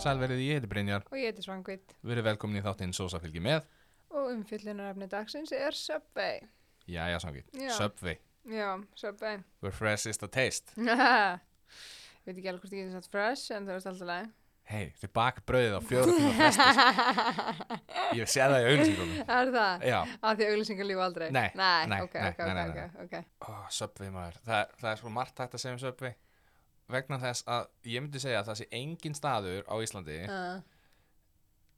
Sælverið, ég heiti Brynjar, Og ég heiti Svangvít verið velkomin í þáttinn Sosa fylgir með og umfyllunarefni dagsins er Subway. Jæja, samkvæmt, Já. Subway, Já, Subway. where fresh is the taste ég veit ekki alveg hvort ég geti satt fresh en það er alltaf læg. Hei, þið bak brauðið á fjóra tíma fresti sko. Ég sé það í auðlýsingunum Það er það. Já, Af því auðlýsingar lífa aldrei. Nei, Nei, nei, ok, nei, ok, nei, ok, nei, ok, nei. Ó, ok. Subway maður, það er, það er svo margt hægt að segja um Subway vegna þess að ég myndi segja að það sé engin staður á Íslandi Uh,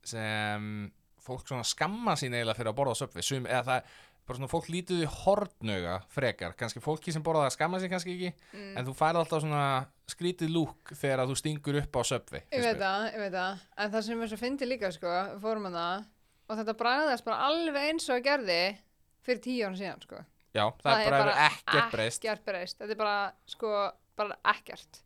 sem fólk svona skamma sín eiginlega fyrir að borða á Subway Sum, eða það er bara svona fólk lítið í hortnauga frekar kannski fólki sem borða það skamma sín kannski ekki mm. en þú færð alltaf svona skrítið lúk þegar að þú stingur upp á Subway Ég finnst veit mér. það, ég veit það. En það sem er svo fyndi líka, sko, við fórum að það og þetta bragðast bara alveg eins og það gerði fyrir tíu ára síðan, sko. Já, það, er bara, bara ekkert breyst Ekkert breyst. Þetta er bara, sko, bara ekkert.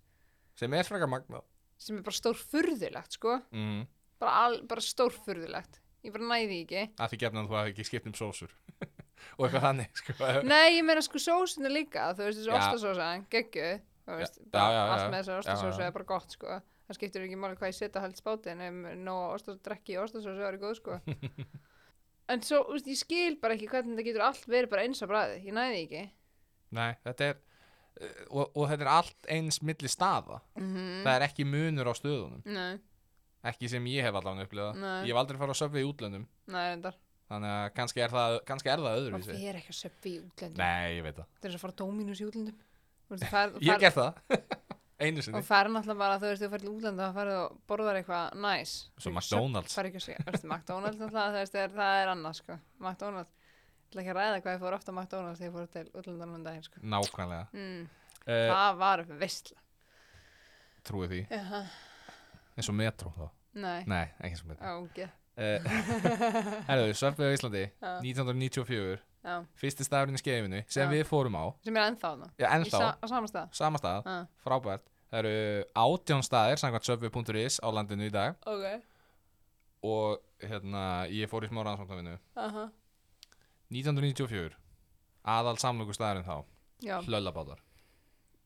sem er frekar magnað Sem er bara stórfurðulegt, sko. mm, bara, al, bara stórfurðulegt ég bara næði ekki að því gefna að þú hafi ekki skipt um sósur og eitthvað þannig sko. já, nei, ég meina sko sósuna líka þú veist þessi Já. ostasósa, geggju þú veist, Já, bara já, já, já. allt með þessi Já, já. ostasósa er bara gott sko það skiptir ekki máli hvað ég setja haldið spátinn ef nóg ostasósa, drekki ostasósa það er góð sko en svo, þú veist, ég skil bara ekki hvernig þetta getur allt verið bara eins á bræði, ég næði ekki Nei, þetta er eh, og, og þetta er allt eins milli staða mm -hmm. það er ekki munur á stöðunum nei, ekki sem ég hef allan upplifað Nei. ég hef aldrei farið á Subway í útlöndum nei, reyndar þannig að kannski er það, kannski er það maður öðruvísi fer ekki að söpfi í útlöndum Nei, ég veit það þetta er eins og að fara á Dominus í útlöndum Þú veist, þú Ég ferð- ferð- hef gert það, einu sinni og fara náttúrulega bara, þú veist, þú færði útlanda og færði og borðar eitthvað næs Svo McDonald's. færði ekki að segja, veist, McDonalds náttúrulega, þú veist, er, það er annað, sko McDonalds, ég ætla ekki að ræða hvað ég fór oft á McDonalds þegar ég fór til útlandanum um daginn, sko Nákvæmlega mm, uh, það var veistla Trúið því, uh -huh. eins og metro þá nei, Nei, ekki eins og metro ágæð uh, Herðu, Subway á Íslandi Já. 1994, Já, fyrsti staðurinn í skeifinu sem Já. við fórum á, sem er ennþá þarna já Í ennþá sa á sama stað sama stað, ah, frábært það eru átján staðir, samkvæmt subway.is á landinu í dag ok, og hérna, ég fór í smá rannsóknarvinnu aha 1994 aðal samlöku staðurinn þá, já, hlöllabátar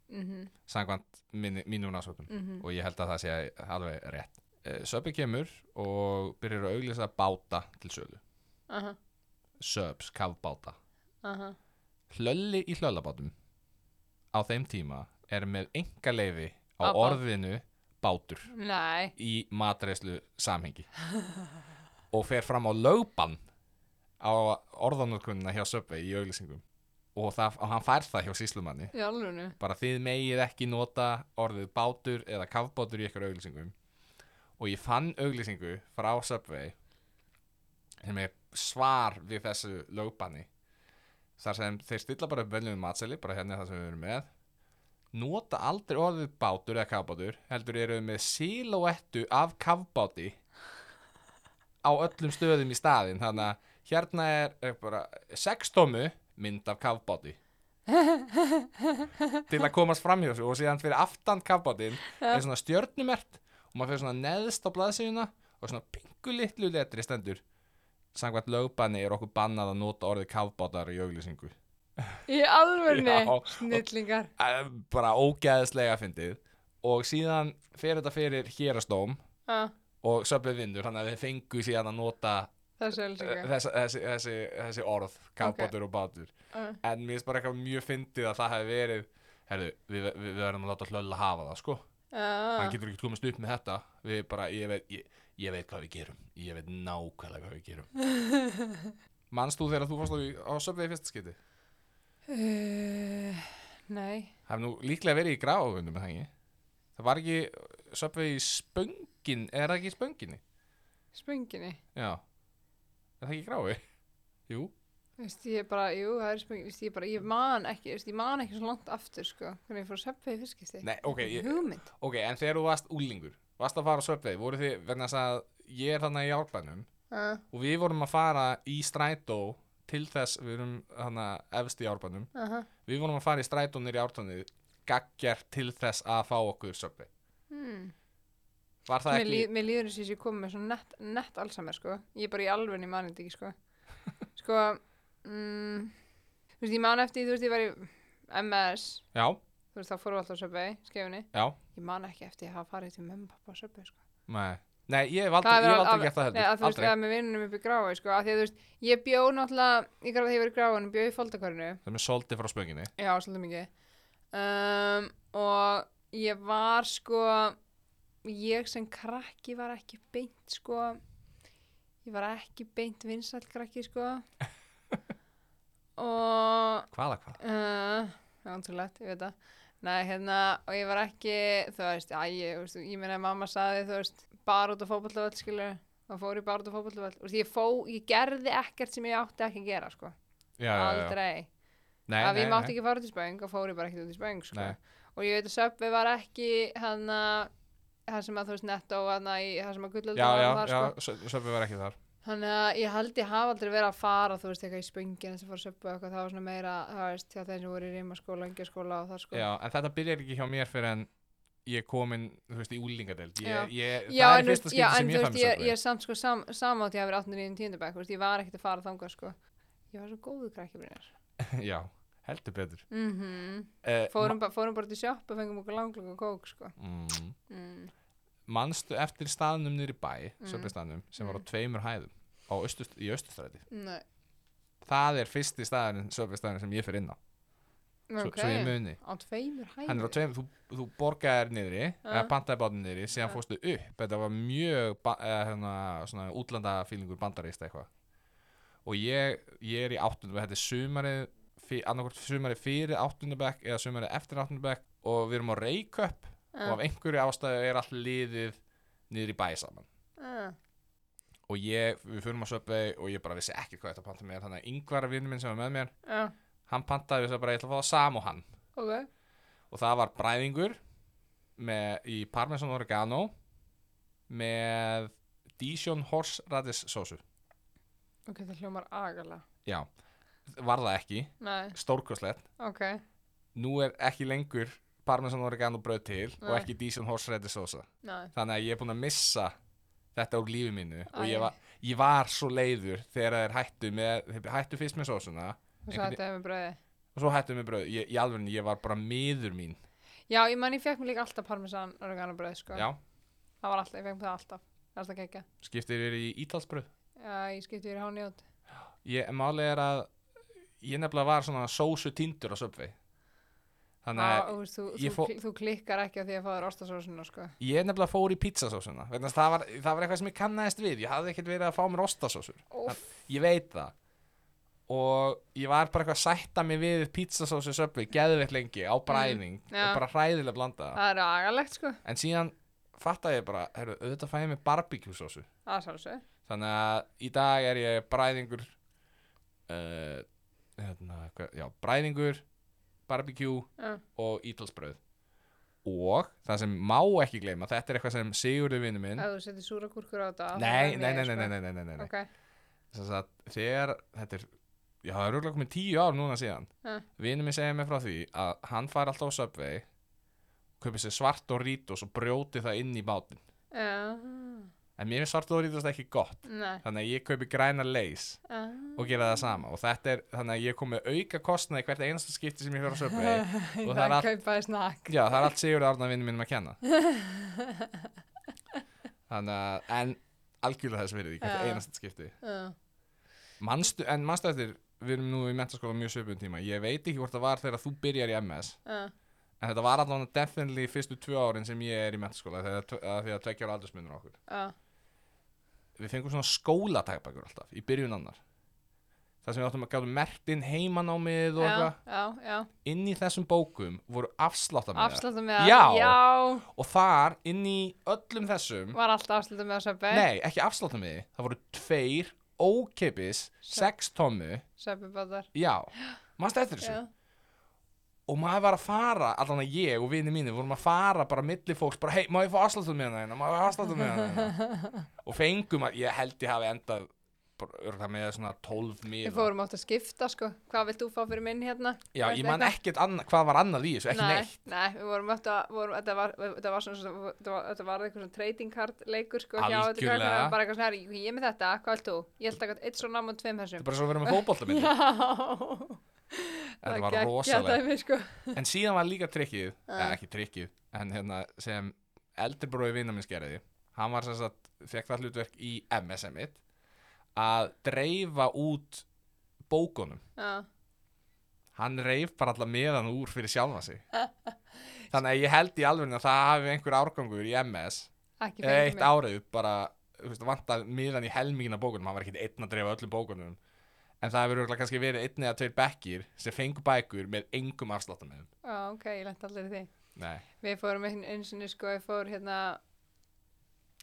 mhm, samkvæmt minni, mínum rannsóknum mhm og ég held að það sé alveg rétt uh, Subway kemur og byrjar að auglýsa báta til sölu aha, Subs, kafbáta aha Hlölli í hlöllabátum á þeim tíma er með enga leifi á Á bát. orðinu bátur nei, í matreislu samhengi og fer fram á lögbann á orðanotkunna hjá Subway í auglýsingum og, það, og hann fær það hjá síslumanni í alvörinu bara þið megið ekki nota orðið bátur eða kafbátur í ykkur auglýsingum og ég fann auglýsingu frá Subway sem er svar við þessu lögbanni þar sem þeir stilla bara upp venjulegum matseli bara hérna er það sem við erum með nota aldrei orðið bátur eða kafbátur heldur eru við með sílóettu af kafbáti á öllum stöðum í staðin þannig að hérna er, er bara sextómu mynd af kafbáti til að komast fram hjá þessu og síðan fyrir aftan kafbátinn er svona stjörnumert og maður fyrir svona neðst á blaðsíðuna og svona pingu litlu letri stendur samkvæmt lögbanni er okkur bannað að nota orðið kafbátar í auglýsingu í alvörinu, Já, og- snillingar Eh, bara ógeðslega fyndið og síðan fyrir þetta fyrir hérastóm ah, og söpvið vindur þannig að við fengu síðan að nota þessu eh, ölsingar þessa, þessi, þessi, þessi orð kafbátur og bátur uh. en mér finnst bara eitthvað mjög fyndið að það hefði verið herðu, við, við, við verðum að láta hlölla hafa það sko Ah, hann getur ekki komast upp með þetta við bara, ég veit, ég, ég veit hvað við gerum ég veit nákvæmlega hvað við gerum manst þú þegar þú fórst á, á söfvið í fyrsta skiti? Uh, nei, hafði nú líklega verið í gráðunum með hengi það var ekki söfvið í spöngin er það ekki í spönginni? spönginni. já, er það ekki í gráði? jú, Þú veist, ég bara, jú, það er spönginni, þú veist, ég bara, ég man ekki, þú veist, ég man ekki svo langt aftur, sko, hvernig ég fór að seppa í fyrskipti. nei, ok ég, Hugmynd. ok, en þegar þú varst úlingur varst að fara á söfvið, voru þið vegna þess að ég er þannig í árbænum Uh, og við vorum að fara í strætó til þess, við erum hana efst í árbænum uh -huh. Við vorum að fara í strætó nýri ártónið gaggjart til þess að fá okkur söpvi. hmm. Var það Mér, ekki... líð, mér líður eins og ég sé komið með svona nett, nett allsammer, sko. Ég er bara í alveg niður manið ekki, sko. Sko, mm, þú veist, ég man eftir, þú veist, ég var í MS, Já, þú veist, þá fórum við alltaf á söpvei, skefinni. já. Ég man ekki eftir að hafa farið til mömmu og pappa á söpvei, sko. Nei, nei ég hef aldrei, Það er ég hef aldrei alveg- gert það heldur Nei, að þú veist, Aldrei, eða með vinnunum upp í gráa, sko, að því að þú veist, ég bjó náttúrulega, ég gráði þegar ég verið í gráanum, bjó í foldakvarinu, það er mér soldið frá spönginni já, svolítið mikið, um, og ég var, sko, ég sem krakki var ekki beint, sko, ég var ekki beint vinsall krakki, sko, og Hvaða, hvaða? Uh, Ántrúlegt, ég veit það. Nei, hérna, og ég var ekki, þú veist, æ, ég, þú veist, ég meina að mamma saði, þú veist, bara út á fótballavöld, skilur, og fór ég bara út á fótballavöld. Þú veist, ég fó, ég gerði ekkert sem ég átti ekki að gera, sko. Já, já, já. Aldrei. Nei, Af nei, ég mátti nei. ekki fara út í spöng og fór ég bara ekkert út í spöng, sko. Nei. Og ég veit að Söpvi var ekki, hann eh, það sem að, þú veist, netto, hann í, það sem að gullöldur Já, var já, þar, já, sko. Söpvi var ekki þar Þannig að ég held ég hafa aldrei verið að fara, þú veist, eitthvað í spöngin sem fór að söpbu eitthvað, það var svona meira, það veist, hjá þeim sem voru í rímaskóla, engjaskóla og það sko. Já, en þetta byrjar ekki hjá mér fyrir en ég er komin, þú veist, í úlingadeld Já. ég, ég, Já, Það en er þú fyrsta veist- skipti já, en sem þú ég fæ veist, með ég, ég Söpvi er samt sko sam, samátt ég hafi verið 18 í tíundabæk, veist, ég var ekkert að fara þangað sko. Ég var svo góðu krakki brynjar. Já, heldur betur Mm uh, fórum, ba fórum bara til sjoppu og fengum okkur langlega kók sko. mm, Mm. Manstu eftir staðnum niður í bæ, Mm. mm. staðnum sem var á Mm. tveimur hæðum á austur, í austurstræti Nei, Það er fyrsti staðurinn, Söpvi staðurinn sem ég fyrir inn á ok. svo, svo ég muni Á tveimur hæðum. hann er á tveim, þú, þú borgaðir niðri Ah. eða pantaði bátinn niðri, síðan Ah. fórstu upp þetta var mjög ba- eða, hérna, svona útlandafílingur bandarist eitthvað og ég, ég er í áttundum þetta er sumarið annarkvort sumarið fyrir áttundabæk eða sumarið eftir áttundabæk og við erum á reiköp Ah. og af einhverju ástæðu er allt liðið niður í bæ saman Uh, og ég, við fyrir á söpvei og ég bara vissi ekki hvað þetta pantaði mér þannig að yngvara vinnum minn sem var með mér uh, hann pantaði þess að bara ég ætla að fá það sam og hann ok. og það var bræðingur með, í parmesan oregano með Dijon horseradish sósu Ok, það hljómar agalega. já, var það ekki Nei, stórkoslegt, ok. nú er ekki lengur parmesan oregano bröð til og Nei. ekki Dijon horseradish sósa Nei. þannig að ég er búinn að missa þetta úr lífi mínu og Æ. ég var, ég var svo leiður þegar þeir hættu, með, þeir hættu fyrst með sósuna Og svo Einhvern- þetta með bröði. og svo hættu með bröð ég, í alveg, ég var bara miður mín Já, ég man ég fekk mér líka alltaf parmesan oregano bröð, sko. já, Það var alltaf, ég fekk mér það alltaf. Það er alltaf kekja. skiptir þér í ítalsbröð Já, ég skipti fyrir hán í út. Ég, málið er að ég nefnilega var svona sósu tindur á Subway. Þannig Á, að þú, veist, þú, ég þú, fó- kli- þú klikkar ekki á því að fá þér ostasósuna, sko. ég nefnilega fór í pizzasósuna. Vegna þess að Það var, það var eitthvað sem ég kannaðist við. Ég hafði ekkert verið að fá mér ostasósur. Óf, Ég veit það. Og ég var bara eitthvað að sætta mig við pizzasósu Subway, geðveitt lengi, á bræðing já. og bara hræðilega blanda. það er agalegt, sko. En síðan fattaði ég bara, herru, auðvitað fæði ég mig barbecue-sósu. Það er sálsög. Þannig að í dag er ég bræðingur uh, hérna, hvað, já, bræðingur barbecue Já. og ítalsbröð og það sem má ekki gleyma þetta er eitthvað sem Sigurður vinnu minn Ef þú setur súra gúrkur á þetta. þá nei, er nei, nei, nei, mér, sko. nei, nei, nei, nei, nei. Ok, Sem Sagt, þegar þetta er já, það er rúglega komið tíu ár núna síðan Já. vinnu minn segir mér frá því að hann fær alltaf á Subway kaupir sér svart og rítos og brjóti það inn í bátinn já, en mér er svart og rítos ekki gott nei. þannig að ég kaupi græna leys Ah. og gera það sama og þetta er, þannig að ég kom með auka kostnaði hvert einasta skipti sem ég fyrir á söpvei Ég og það er þarf allt- að kaupa þér snakk. já, það er allt Sigurður Arna vinnum mínum um að kenna þannig að, en algjörlega þess verið í hvert Já. einasta skipti Já. manstu, en manstu eftir, við erum nú í mentaskóla mjög söpum tíma, ég veit ekki hvort það var þegar þú byrjar í MS, Já. en þetta var allan definitely fyrstu tvö árin sem ég er í mentaskóla þegar, að því að tveggja ára aldursmunur á okkur Já. við fengum svona skólatækbækur alltaf í byrjun annar það sem við áttum að gátum mertinn heimanámið og eitthvað Já, já, já. inn í þessum bókum voru afsláttamæðar Afsláttum með að, Já. já, og þar inn í öllum þessum var alltaf afsláttum með að söpbi. nei, ekki afsláttamæði, það voru tveir ókeppis, sex tommu Söpbi bátar. já, mannstu eftir þessu Já, og maður var að fara, allan að ég og vini mínu vorum að fara bara milli fólks bara hei, má ég fá afsláttamæðina hérna, má ég fá afsláttamæðina hérna og fengum að, ég held ég hafi endað bara örgulega með svona 12 við miða fórum átt að skipta, sko. Hvað vilt þú fá fyrir minn hérna? já, Veistu ég man eitthvað? ekkert annað, hvað var annað í þessu, ekki nei, neitt Nei, við vorum öll að, vorum, þetta var, þetta var svona, svona þetta var, þetta var eitthvað svona trading card leikur, sko, hjá þetta Algjörlega. krakkarna, bara eitthvað svona, "Herri, ég er með þetta, hvað vilt þú? Ég held að eitt svona nám og tveim þetta þessum. er bara svo að vera með fótboltamill Já. þetta var Já, það rosalegt er mér, sko. En síðan var líka trikkið, Ah. eða ekki trikkið, en hérna sem eldri bróði vinnar minn skeriði, hann var sem sagt, fekk það hlutverk í MSM-ið að dreifa út bókunum já, hann reif bara allar meðan úr fyrir sjálfa sig þannig að ég held í alveg að það hafi einhver árgangur í MS ekki eða fengið eitt árið bara þú veist, vantar miðan í helmingina bókunum hann var ekki einn að dreifa öllum bókunum en það hefur örugglega kannski verið einn eða tveir bekkir sem fengu bækur með engum afsláttum með Já, ok, ég lent allir í því. Nei, Við fórum einn einsinni sko, ég fór hérna,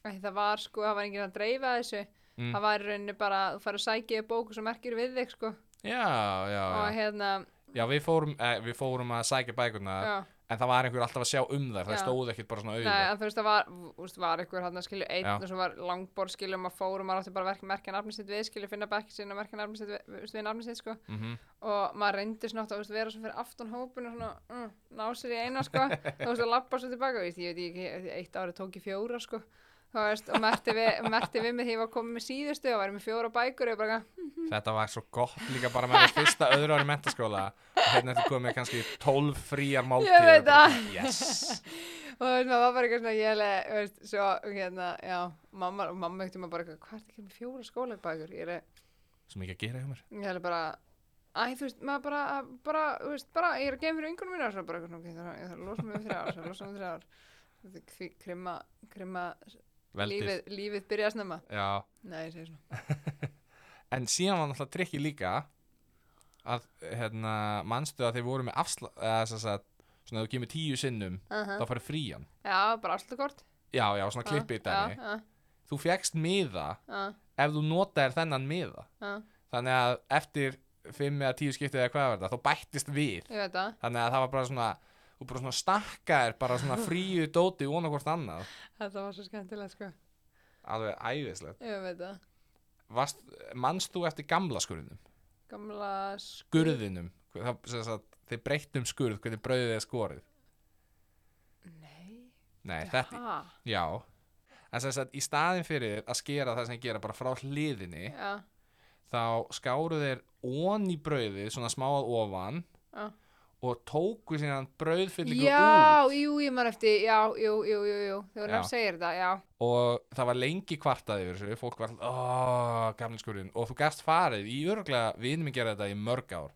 æ, það var sko, það var enginn að dreifa þessu. Mm. Það var í rauninni bara, þú farið að sækja í bóku sem merkir við þig sko. já, já, og já. hérna, já við, fórum, eh, við fórum að sækja bækurna já, en það var einhver alltaf að sjá um þær það Já. stóð ekkert bara svona nei, auðvitað en þú veist, það var, úst, var ykkur hann að skilja einn Já. og svo var langbor skilja um að fórum, maður átti bara að verka merkja nafnistitt við, skilja finna bekki sinna og merkja nafnistitt við, þú veist, við nafnistitt sko. mm og maður reyndi svona oft að þú veist, vera svo fyrir aftan hópun og svona mm, ná sér í eina sko og þú veist að lappa svo tilbaka veist, ég veit ekki, ég- eitt árið tók ég fjóra sko Þú veist, og merti við, merti við mig því ég var komið með síðustu og væri með fjóra bækur og ég bara eitthvað, þetta var svo gott líka bara með því fyrsta öðru ári mentaskóla og hérna ertu komið með kannski 12 fríar máltíð Ég veit það. yes. og þú veist, maður var bara eitthvað svona ég le, þú veist, svo hérna, já mamma, og mamma ekkert maður bara eitthvað, hvað er ekki með fjóra skólabækur ég er, svo mikið að gera hjá mér ég er bara Æ, þú veist, maður bara, bara, þú veist, bara, ég er að gefa fyrir yngunum mínu og svo bara, eitthvað svona, ok, ég þarf að- ég þarf að losa mig við þrjá ár, svo losa mig við þrjá ár. Þetta er kví- Krimma, krimma Veldið. lífið, lífið byrja að snemma Já, Nei, ég segi svona en síðan var náttúrulega trikki líka að hérna, manstu að þeir voru með afsla eða, sem sagt, svona að þú kemur tíu sinnum þá farið frían Já, bara afslutakort já, já, svona klippið dæmi Já, þú fjekkst miða já, ef þú notaðir þennan miða já, þannig að eftir 5 eða 10 skiptið eða hvað var þetta, þá bættist við ég veit það þannig að það var bara svona þú bara svona stakkaðir bara svona fríu dóti vona hvort annað Þetta var svo skemmtilega, sko alveg æðislegt Ég veit það Varst, manst þú eftir gamla skurðinum Gamla sk skurðinum Hva- það, sem sagt, þeir breyttum skurð hvernig brauðið er skorið Nei Nei, þetta, Ha, já en sem sagt, í staðin fyrir að skera það sem þeir gera bara frá hliðinni já, þá skáru þeir ón í brauðið svona smá að ofan já og tóku síðan brauðfyllingu út Já, jú, ég man eftir Já, jú, jú, jú, jú Þegar Já. hann segir þetta, já og það var lengi kvartað yfir þessu fólk var alltaf, oh, gamli skurinn og þú gast farið í örgla, við erum að gera þetta í mörg ár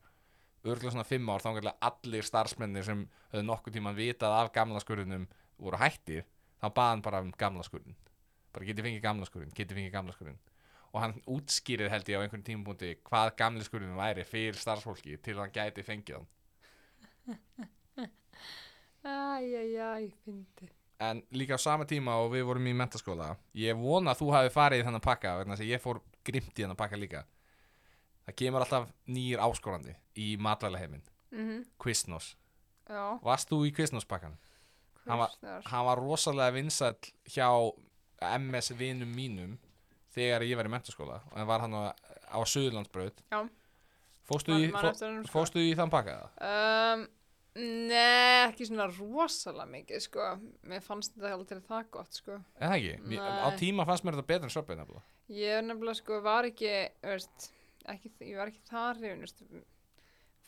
örgla svona fimm ár, þá gætlega allir starfsmennir sem höfðu nokkuð tíman vitað af gamla skurðinum voru hættir þá baði hann bara um gamla skurðin bara geti fengið gamla skurðin, geti fengið gamla skurðin og hann útskýrið held ég á einhvern tímapunkti hvað gamli skurðin væri fyrir starfsfólki til að hann gæti fengið hann Æ, æ, æ, fyndi en líka á sama tíma og við vorum í mentaskóla ég vona að þú hafi farið í þennan pakka vegna þess að ég fór grimt í þennan pakka líka það kemur alltaf nýjir áskorandi í matvælaheiminn Mhm, Quiznos, já varst þú í Quiznos pakkan? Hann var- Kristnar. hann var rosalega vinsall hjá MS vinum mínum þegar ég var í mentaskóla og hann var hann á, á Suðurlandsbraut Já. fóstu Man- í, man fó, eftir honum, sko. fóstu í þann pakka? eða? Um, Nei, ekki svona rosalega mikið, sko Mér fannst þetta aldrei það gott, sko Er það ekki? Mér- á Nei. tíma fannst mér þetta betra en söpbið nefnilega Ég er nefnilega sko, var ekki, veist, ekki, ég var ekki þar hrifin, veist,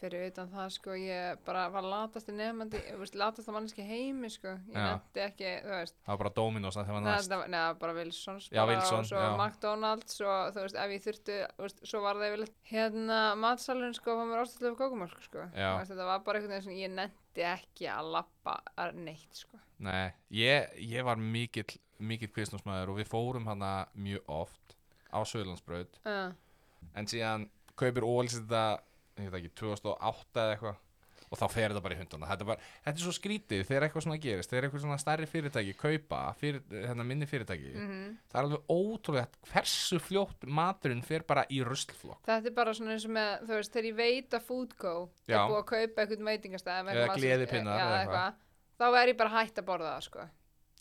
fyrir utan það sko, ég bara var latast nefnandi, veist, latast að mannski heimi sko, ég Já. nefndi ekki, þú veist, það var bara Dominos að það var næst neða, neða, bara Wilsons Já, bara Wilson, og svo já. McDonalds og þú veist, ef ég þurfti, þú veist, svo var það yfirleitt, hérna, matsalun sko, var mér ástæðlega kókumálk sko, Já. Þú veist, þetta var bara einhvern veginn sem ég nefndi ekki að lappa að neitt sko, Nei, ég, ég var mikill, mikill kvistnúsmaður og við fórum hana mjög oft á Söðlandsbraut uh, en síðan kaupir Ólis þetta, ég veit ekki, 2008 eða eitthvað og þá fer þetta bara í hundana þetta, var, þetta er svo skrítið þegar eitthvað svona gerist þegar eitthvað svona stærri fyrirtæki kaupa fyrir, hérna minni fyrirtæki Mm. Mhm. það er alveg ótrúlega hversu fljótt maturinn fer bara í ruslflokk Þetta er bara svona eins og með, þú veist, þegar ég veit að Foodgo er Já. búið að kaupa einhvern veitingastæð Eða gleðipinnar eða eða eitthvað. eitthvað, þá er ég bara hætt að borða það, sko.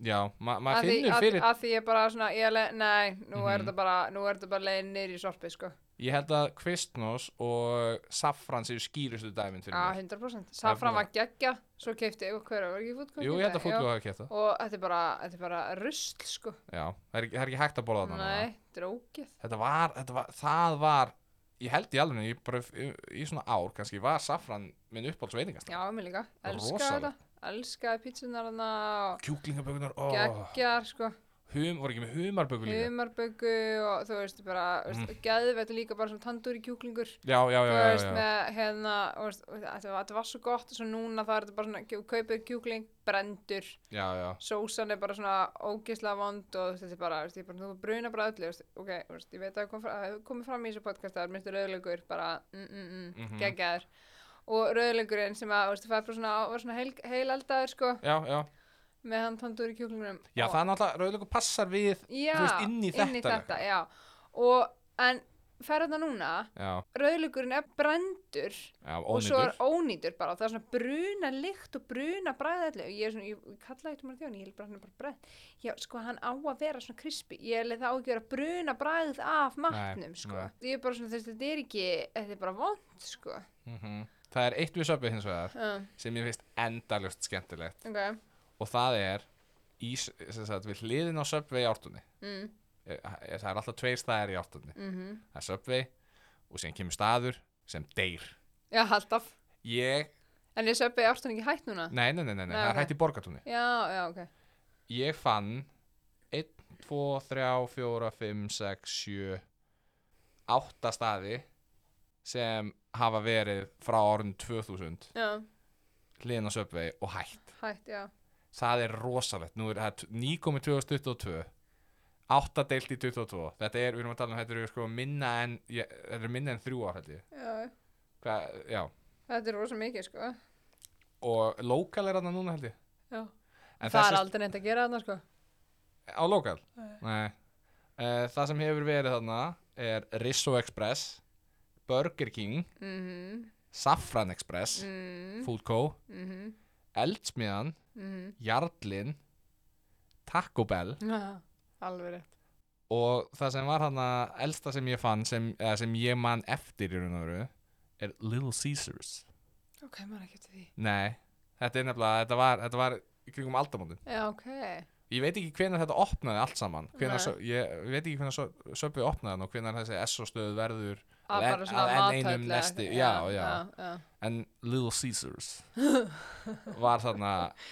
Já, ma maður Að því, finnur að, fyrir að því ég bara svona, ég alveg, nei, nú er Mhm. þetta bara, nú er þetta bara leiðin niður í sorpið, sko. ég held að kvistnós og saffran séu skýrustu dæmin fyrir Já, mér 100%. er Safran bara- var geggja, svo keipti ég, hver var ekki Foodgo? Jú, ég held að fólk Foodgo. hafa kæft það Og þetta er bara, þetta er bara rusl, sko. Já, það er, ekki- það er ekki hægt að borða þarna Nei, drókið. þetta var, þetta var, það var ég held í alveg, ég bara í, í svona ár kannski, var safran minn uppáhalds veitingast Já, mér líka. Það er Elskaði rosalegt. þetta. Elskaði pítsunar hana og kjúklingabökunar, ó, geggjar, sko. hum, voru ekki með humarböku líka humarböggu og þú veist bara, mm. veist, geðvett líka bara svona tandúri kjúklingur já, já, já, þú já, veist, já, já. með hérna þú veist, og þetta var- þetta var svo gott og svo núna það er þetta bara svona, kjó- kaupið kjúkling brendur, já, já. sósan er bara svona ógislega vond og þú veist, þetta er bara, þú veist, ég bara, þú bruna bara öllu, þú veist, ok, þú veist, ég veit að það kom fra- það hefur komið fram í þessu podcast, það er myndur rauðleikur bara, mm, mm, mm, Mhm. geggjaður og rauðleikurinn sem að, þú veist, það var bara svona, var svona heil, heilaldaður, sko, Já, já. með hann tandúri kjúklingunum já, Og- það er náttúrulega, rauðleikur passar við já, þú veist, inn í þetta þetta já. og, en ferðarna núna Já, rauðlugurinn er brendur já, og svo ónýtur er ónýtur bara og það er svona bruna lykt og bruna bræðalli og ég er svona, ég, ég kalla eitthvað maður þjón ég held bara hann er bara brend já, sko, hann á að vera svona krispi ég held það á ekki að vera bruna bræðið af matnum, sko ég er bara svona, þess þetta er ekki þetta er bara vond, sko mm Það er eitt við söpvið hins vegar uh, sem ég finnst endalust skemmtilegt ok, og það er í, s- sem sagt, við hliðin á söpvið í ártunni Eh, mm, það er alltaf tveir staðir í ártunni mm það er söpvið og síðan kemur staður sem deyr já, alltaf ég, en ég söpbi ártun ekki hætt núna nei, nei, nei, nei, nei, Nei, það er ok. hætt í borgartunni já, já, ok ég fann 1, 2, 3, 4, 5, 6, 7 8 staði sem hafa verið frá árun 2000 já, hliðin á söpvið og hætt hætt, já, það það er rosalegt, nú er það nýkomið 2022 8 deilt í 22 þetta er, við erum að tala um þetta er sko minna en ég, þetta er minna en þrjú ár held ég já. Hva, já, Þetta er rosa mikið sko. og lokal er þarna núna held ég Já. En það er þessi- aldrei neitt að gera þarna sko. á lokal Nei. Uh, það sem hefur verið þarna er Risso Express Burger King, Mhm, Safran Express mhm, Food Co, mhm, Eldsmiðan mhm. Jarlinn Taco Bell Já, Alveg rétt. og það sem var þarna elsta sem ég fann sem, eða, sem ég man eftir í raun og veru er Little Caesars Ok, maður ekki til því. nei, þetta er nefnilega, þetta var, þetta var í kringum aldamóndin, Já, ok. ég veit ekki hvenær þetta opnaði allt saman, hvenær, Nei. svo, ég, ég veit ekki hvenær söpvið opnaði hann og hvenær þessi SO stöð verður, Að En- Ah, bara svona að enn einum mathöll eða nesti, eitthvað. já, já. já. en Little Caesars var þarna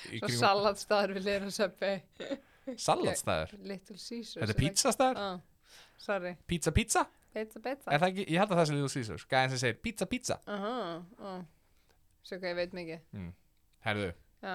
í Svo kringum salatstaður við liðum að söpbi. salatstæður Little Caesars. þetta er er pizzastæður, Já, sorry. pizza pizza Beita, beita. er það ekki, ég held að það sé Little Caesars gæðin sem segir pizza pizza Aha, já. Svo hvað ég veit mikið. herðu, Já.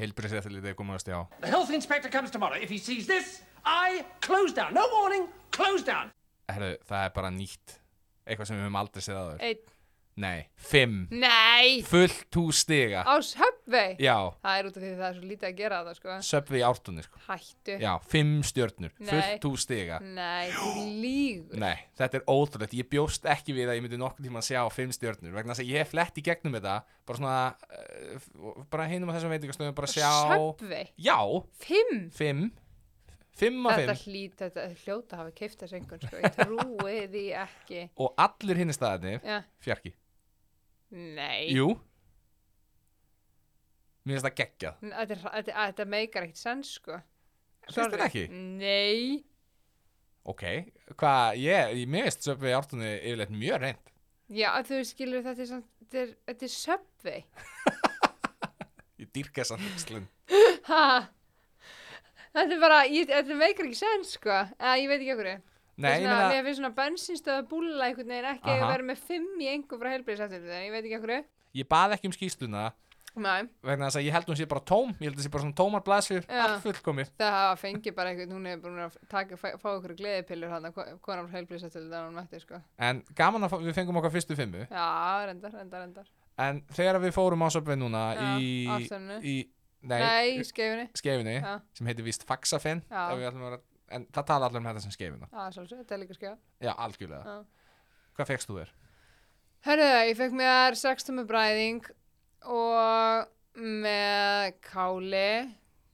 heilbriðsréttilítið komast hjá The health inspector comes tomorrow. If he sees this, I close down. No warning, close down. Herru, það er bara nýtt Eitthvað sem við höfum aldrei séð aður Einn. Nei, fimm Nei! Fullt hús stiga Á söpbi! Já, Það er út af því að það er svo lítið að gera það sko. söpfið í ártunni sko Hættu. Já, fimm stjörnur Nei. Fullt hús stiga Nei, þú lígur. Nei, þetta er ótrúlegt Ég bjóst ekki við að ég myndi nokkuð tíma að sjá fimm stjörnur Vegna þess að ég hef flett í gegnum þetta Bara svona uh, Bara hinum að þessum veitingastöðum Bara sjá Subway, Já, fimm fimm Fimm af Þetta fimm hlýt, þetta hljóta hafa keift þessu einhvern sko, ég trúi því ekki Og allir hinni staðarnir ja. Fjarki Nei Jú Mér finnst það geggjað N- Þetta, er- þetta, þetta meikar ekkert sens sko Finnst Sorry. þetta ekki? Nei, Ok, hvað, ég, ég mér veist Subway í ártunni yfirleitt mjög reynd já þú skilur þetta er, samt- þetta er, þetta er Subway Ég dýrka þess að hugslun ha. Þetta er bara, ég, þetta meikar ekki sens sko eða ég veit ekki okkur Nei, ég meina, Mér finnst svona bensinstöða búlla einhvern veginn ekki að Aha. vera með fimm í einhver frá helbriðsættir en ég veit ekki okkur ég bað ekki um skýsluna Nei, vegna þess að ég held hún sé bara tóm Ég held hún sé bara svona tómar blæsir, Já. allt fullkomir það hafa fengið bara einhvern, hún hefur búin að taka, fá, fá ykkur gleðipillur hann, konar frá heilblíðsættil þegar hún mætti, sko. En gaman að fá- við fengum okkar fyrstu fimmu Já, reyndar, reyndar, reyndar. En þegar við fórum á Subway núna Já, í, Ársælinu. í Nei, Nei, í skeifunni. skefinni Já. sem heitir víst Faxafinn Já. ef við ætlum að vera- En það tala allir um þetta sem skefina Já, svolítið, þetta er líka skjá. Já, algjörlega Já. Hvað fegst þú þér? Herðu, ég fekk mér sextum með bræðing og með káli,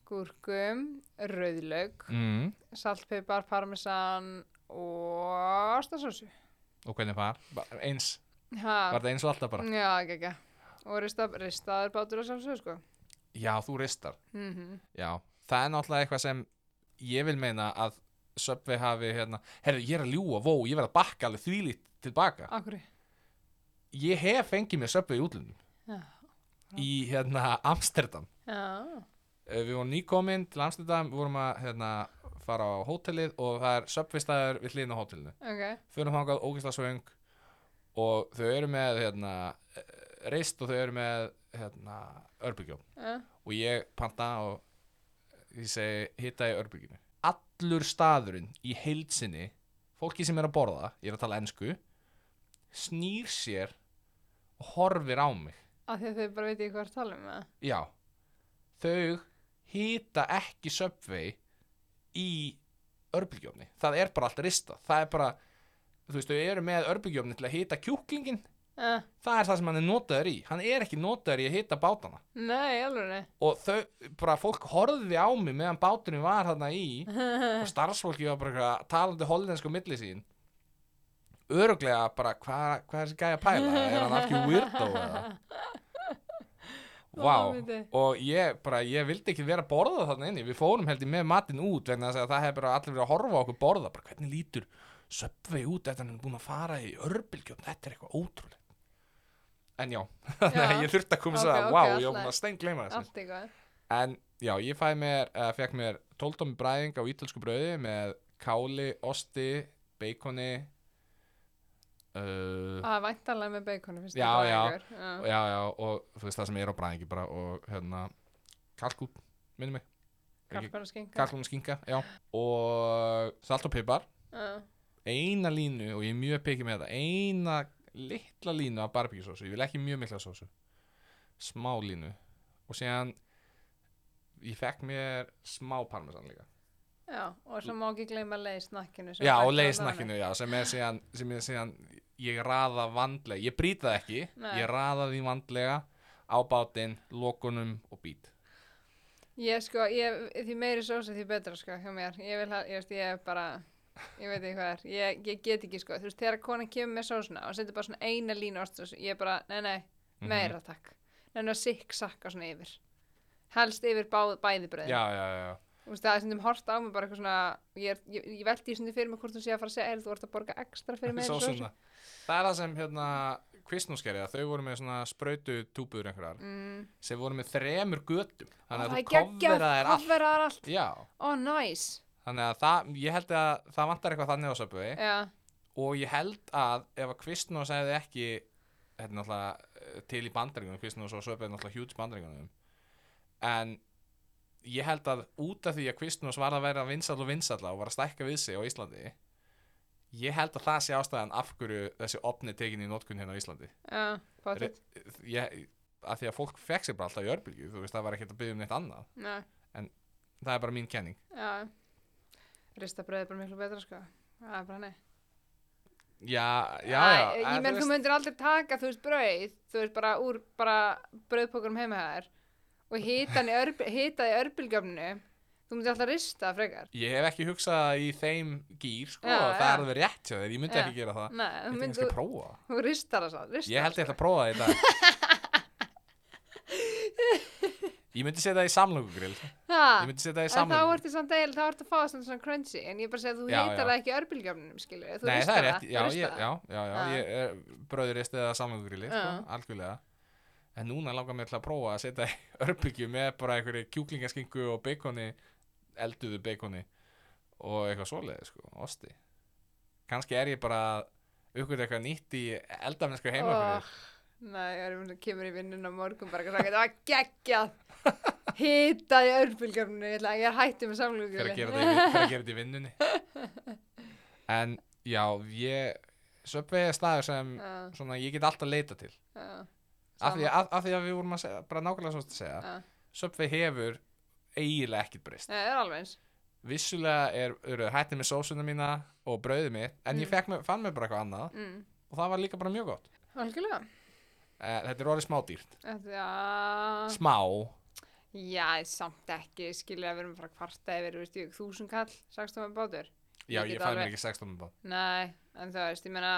gúrkum, rauðlaug, Mm. saltpipar, parmesan og ástasósu. Og hvernig var? Ba- Eins, Ha, var það eins og alltaf bara Já, ekki, ekki. Og rista, ristaður bátur að sjálfsögðu, sko. Já, þú ristar Mm Já, það er náttúrulega eitthvað sem ég vil meina að Subway hafi hérna, herru, ég er að ljúa, vó, ég verð að bakka alveg þvílít tilbaka. Akkur, Ég hef fengið mér Subway í útlundum. Já. Í hérna Amsterdam. já. Eh, Við vorum nýkomin til Amsterdam, við vorum að hérna, fara á hótelið og það er söpvistæður við hlýðin á hótelinu ok, fyrir þangað ógisla svöng og þau eru með hérna, eh, reist og þau eru með hérna, örbyggjó já, og ég panta og ég segi hitta í örbyggjunu allur staðurinn í heilsinni fólki sem er að borða, ég er að tala ensku snýr sér og horfir á mig af því að þau bara veit ekki hvað er að tala um það já, þau hýta ekki Subway í örbílgjófni það er bara allt ristað það er bara, þú veist, þau eru með örbílgjófni til að hýta kjúklingin uh, það er það sem hann er notaður í hann er ekki notaður í að hýta bátana nei, alveg og þau, bara fólk horfði á mig meðan báturinn var þarna í og starfsfólki var bara eitthvað talandi hollensku milli sín öruglega bara, hvað hva er þessi gæja að pæla er hann ekki weirdo eða Vá, Ómöndið. og ég bara, ég vildi ekki vera að borða þarna inni, við fórum held ég með matinn út vegna þess að það hefði bara allir verið að horfa á okkur borða, bara hvernig lítur söpvei út eftir að hann er búin að fara í örbylgjöfn, þetta er eitthvað ótrúlegt en já, þannig að ég þurfti að koma Ok, okay, að, ok, vá, ég allt var búin lagi. að steingleima þessu allt í góð En já, ég fæ mér, uh, fekk mér tóltómi bræðing á ítölsku brauði með káli, osti, beikoni uh, að Ah, væntanlega með baconu fyrst Já, já. já. Já, já, og þú veist það sem er á bræðingi bara og hérna, kalkún, minnum mig kalkun og skinka Kalkún og skinka, já Og salt og pipar Já. Eina línu, og ég er mjög pekið með þetta Eina litla línu af barbíkisósu Ég vil ekki mjög mikla sósu Smá línu Og síðan, ég fekk mér smá parmesan líka já, og svo má ekki gleyma leið snakkinu sem Já, fæst og á leiðsnakkinu, já, sem er síðan, sem er síðan ég raða vandlega, ég brýta það ekki, Nei. ég raða því vandlega á bátinn, lokunum og bít. dánanum. ég sko, ég, því meiri sósa því betra sko hjá mér, ég vil að, ég veist, ég er bara ég veit ekki hvað er, ég, ég get ekki sko þú veist, þegar konan kemur með sósuna og setur bara svona eina línu ostus, ég er bara, nei, nei Mhm. meira takk, nei, nei, sikk sakka svona yfir, helst yfir bá, bæði bröðin, Já, já, já, já. þú veist, það er stundum hort á mig bara eitthvað svona, ég, er- ég, ég veldi í stundum fyrir mig hvort þú sé að fara að segja, er þú ert að borga ekstra fyrir meiri Svo sósu svona. Það er það sem, hérna, kvistnúskeriða, þau voru með svona sprautu túbur einhverjar, mm. sem voru með þremur götum, þannig að það þú er geggjað, kofveraðir allt. kofveraðar allt Oh, Já, Ó, næs þannig að það, ég held að það vantar eitthvað þannig á söpvegi. Já, og ég held að ef að Kvistnós hefði ekki þetta er náttúrulega eh, til í bandaríkunum Kvistnós og Svöpið er náttúrulega hjúts bandaríkunum en ég held að út af því að Kvistnós var að vera vinsall og vinsalla og var að stækka við sig á Íslandi ég held að það sé ástæðan af hverju þessi opni tekin í notkun hérna á Íslandi já, Re- potið ég, að því að fólk fekk sér bara alltaf í örbylgju þú veist það var ekkert að byggja um neitt annað Já, það er bara mín kenning já Ristabröð er bara miklu betra, sko Það er bara nei já, já, Æ, já en Ég þú menn, þú veist- myndir aldrei taka, þú veist, brauð Þú veist, bara úr, bara brauðpókurum heima þær Og hita hann í örb- hita það í örbylgjöfnu Þú myndir alltaf rista frekar Ég hef ekki hugsað það í þeim gýr, sko, Já, það er já. alveg rétt hjá þér, ég myndi Já. ekki gera það. Nei, Ég þú myndi Ah, myndir, kannski að þú, prófa það. þú ristar það svo ristar Ég held ég ætla það, að prófa það í dag. ég myndi setja það í samlokugrill. Ég sko. Ha, myndi setja það í En þá samlokugrill. ertu samt eil, þá ertu að fá það svona crunchy En ég bara segi að þú Já, hitar já. það ekki í örbylgjöfnunum, skilur Þú Nei, það ristar er rétt. þú Já, ristar ég, það. já, já, já, Já. ég er bröðurist eða samlokugrilli, sko, Já. algjörlega. En núna langar mér til að prófa að setja í örbyggju með bara einhverju kjúklingaskinku og beikoni, elduðu beikoni og eitthvað svoleiði, sko, osti. Kannski er ég bara aukvöld eitthvað nýtt í eldafnesku heimafinni. Oh, Nei, ég er um að kemur í vinnun á morgun bara að það var geggjað hitaði örbulgjöfninu ég, ætla- ég er hættið fyrir með að samlugjöfni gera þetta í vin- fer að gera þetta í vinnunni en já ég Subway er staður sem Já. svona, ég get alltaf leita til af því, að, af því að við vorum að segja, bara nákvæmlega svo að segja Já. Subway hefur eiginlega ekkert breyst Það er alveg eins vissulega er, eru hættið með sósuna mína og brauðið mitt en ég fekk, mig- fann mér bara eitthvað annað mm. og það var líka bara mjög gott Algjörlega Eh, Þetta er orðið smádýrt. Þetta- Já, Smá. já, samt ekki skilja að við erum að fara að kvarta yfir veist, ég, þúsund kall, sagst þú með bátur Já, Ég ég get fæði alveg- mér ekki 16 bát. Nei, en þú veist, ég meina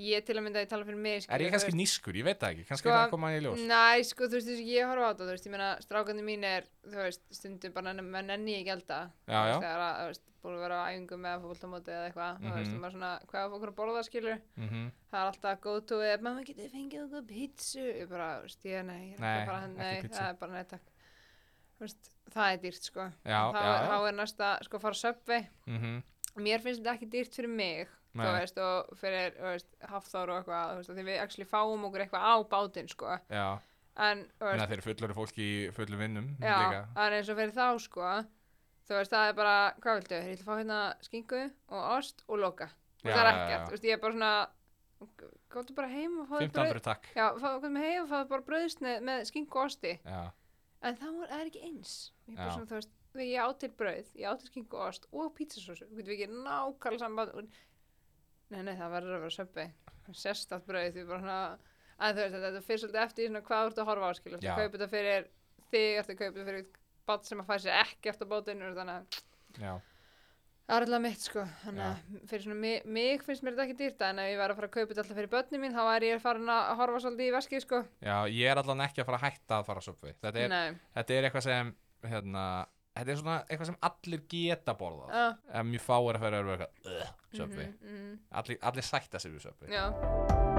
ég til að mynda að ég tala fyrir mig Er skilurðu, ég þú kannski veist- nýskur? Ég veit það ekki. Kannski Sko, er það að koma í ljós. Næ, sko, þú veist, þess að ég horfa á þetta, þú veist, ég meina, strákandi mín er, þú veist, stundum bara nenni, menn nenni ég ekki elda. Já, Þú veist, já. Þegar að, þú veist, búin að vera á æfingum með fótboltamóti eða eitthvað, þú veist, Mhm. þú maður svona, hvað er okkur að borða skilur? Mhm. Það er alltaf go to eða, mamma, getið þið fengið okkur pizzu? Ég bara, þú veist, ég, nei, ég er Nei, ekki bara, ekki nei, pizzu. það er bara, nei, takk. Þú þú veist, það er dýrt sko Já, þá, já, já. þá er næsta sko að fara á Subway mhm, mér finnst þetta ekki dýrt fyrir mig þú Nei. veist, og fyrir þú veist, Hafþór og eitthvað þú veist, af því við actually fáum okkur eitthvað á bátinn sko já en, þú en veist, þeir eru fullur fólk í fullum vinnum já, líka en eins og fyrir þá sko þú veist, það er bara, hvað viltu ég ætla að fá hérna skingu og ost og loka Já, og það er já, já. ekkert, þú veist, ég er bara svona góttu bara heim og fáðu brauð 1500 takk já, fáðu heim og fáðu bara brauðsneið með skingu og osti já, en það voru- það er ekki eins ég, er bara Já. svona, þú veist, þegar ég á til brauð, ég á til skingu og ost og pítsasósu, við getum ekki nákvæmlega samband og... nei, nei, það verður að vera söpbi, sérstætt brauð því bara svona, að þú veist, þetta- þetta fyrir svolítið eftir í svona hvað þú ert að horfa á skil þú Já. kaupir þetta fyrir þig, ertu að kaupa þetta fyrir bát sem að fæ sér ekki eftir bátinu þannig að já, það er alltaf mitt sko þannig að fyrir svona mig, mig finnst mér þetta ekki dýrt en ef ég væri að fara að kaupa þetta alltaf fyrir börnin mín þá væri ég farin að horfa svolítið í veskið sko já, ég er allan ekki að fara að hætta að fara að söpvi þetta, er- Nei, þetta er eitthvað sem hérna, þetta er svona eitthvað sem allir geta borðað uh, en mjög fáir að fara að vera eitthvað söpvi mm, allir, allir sætta sig við söpvi já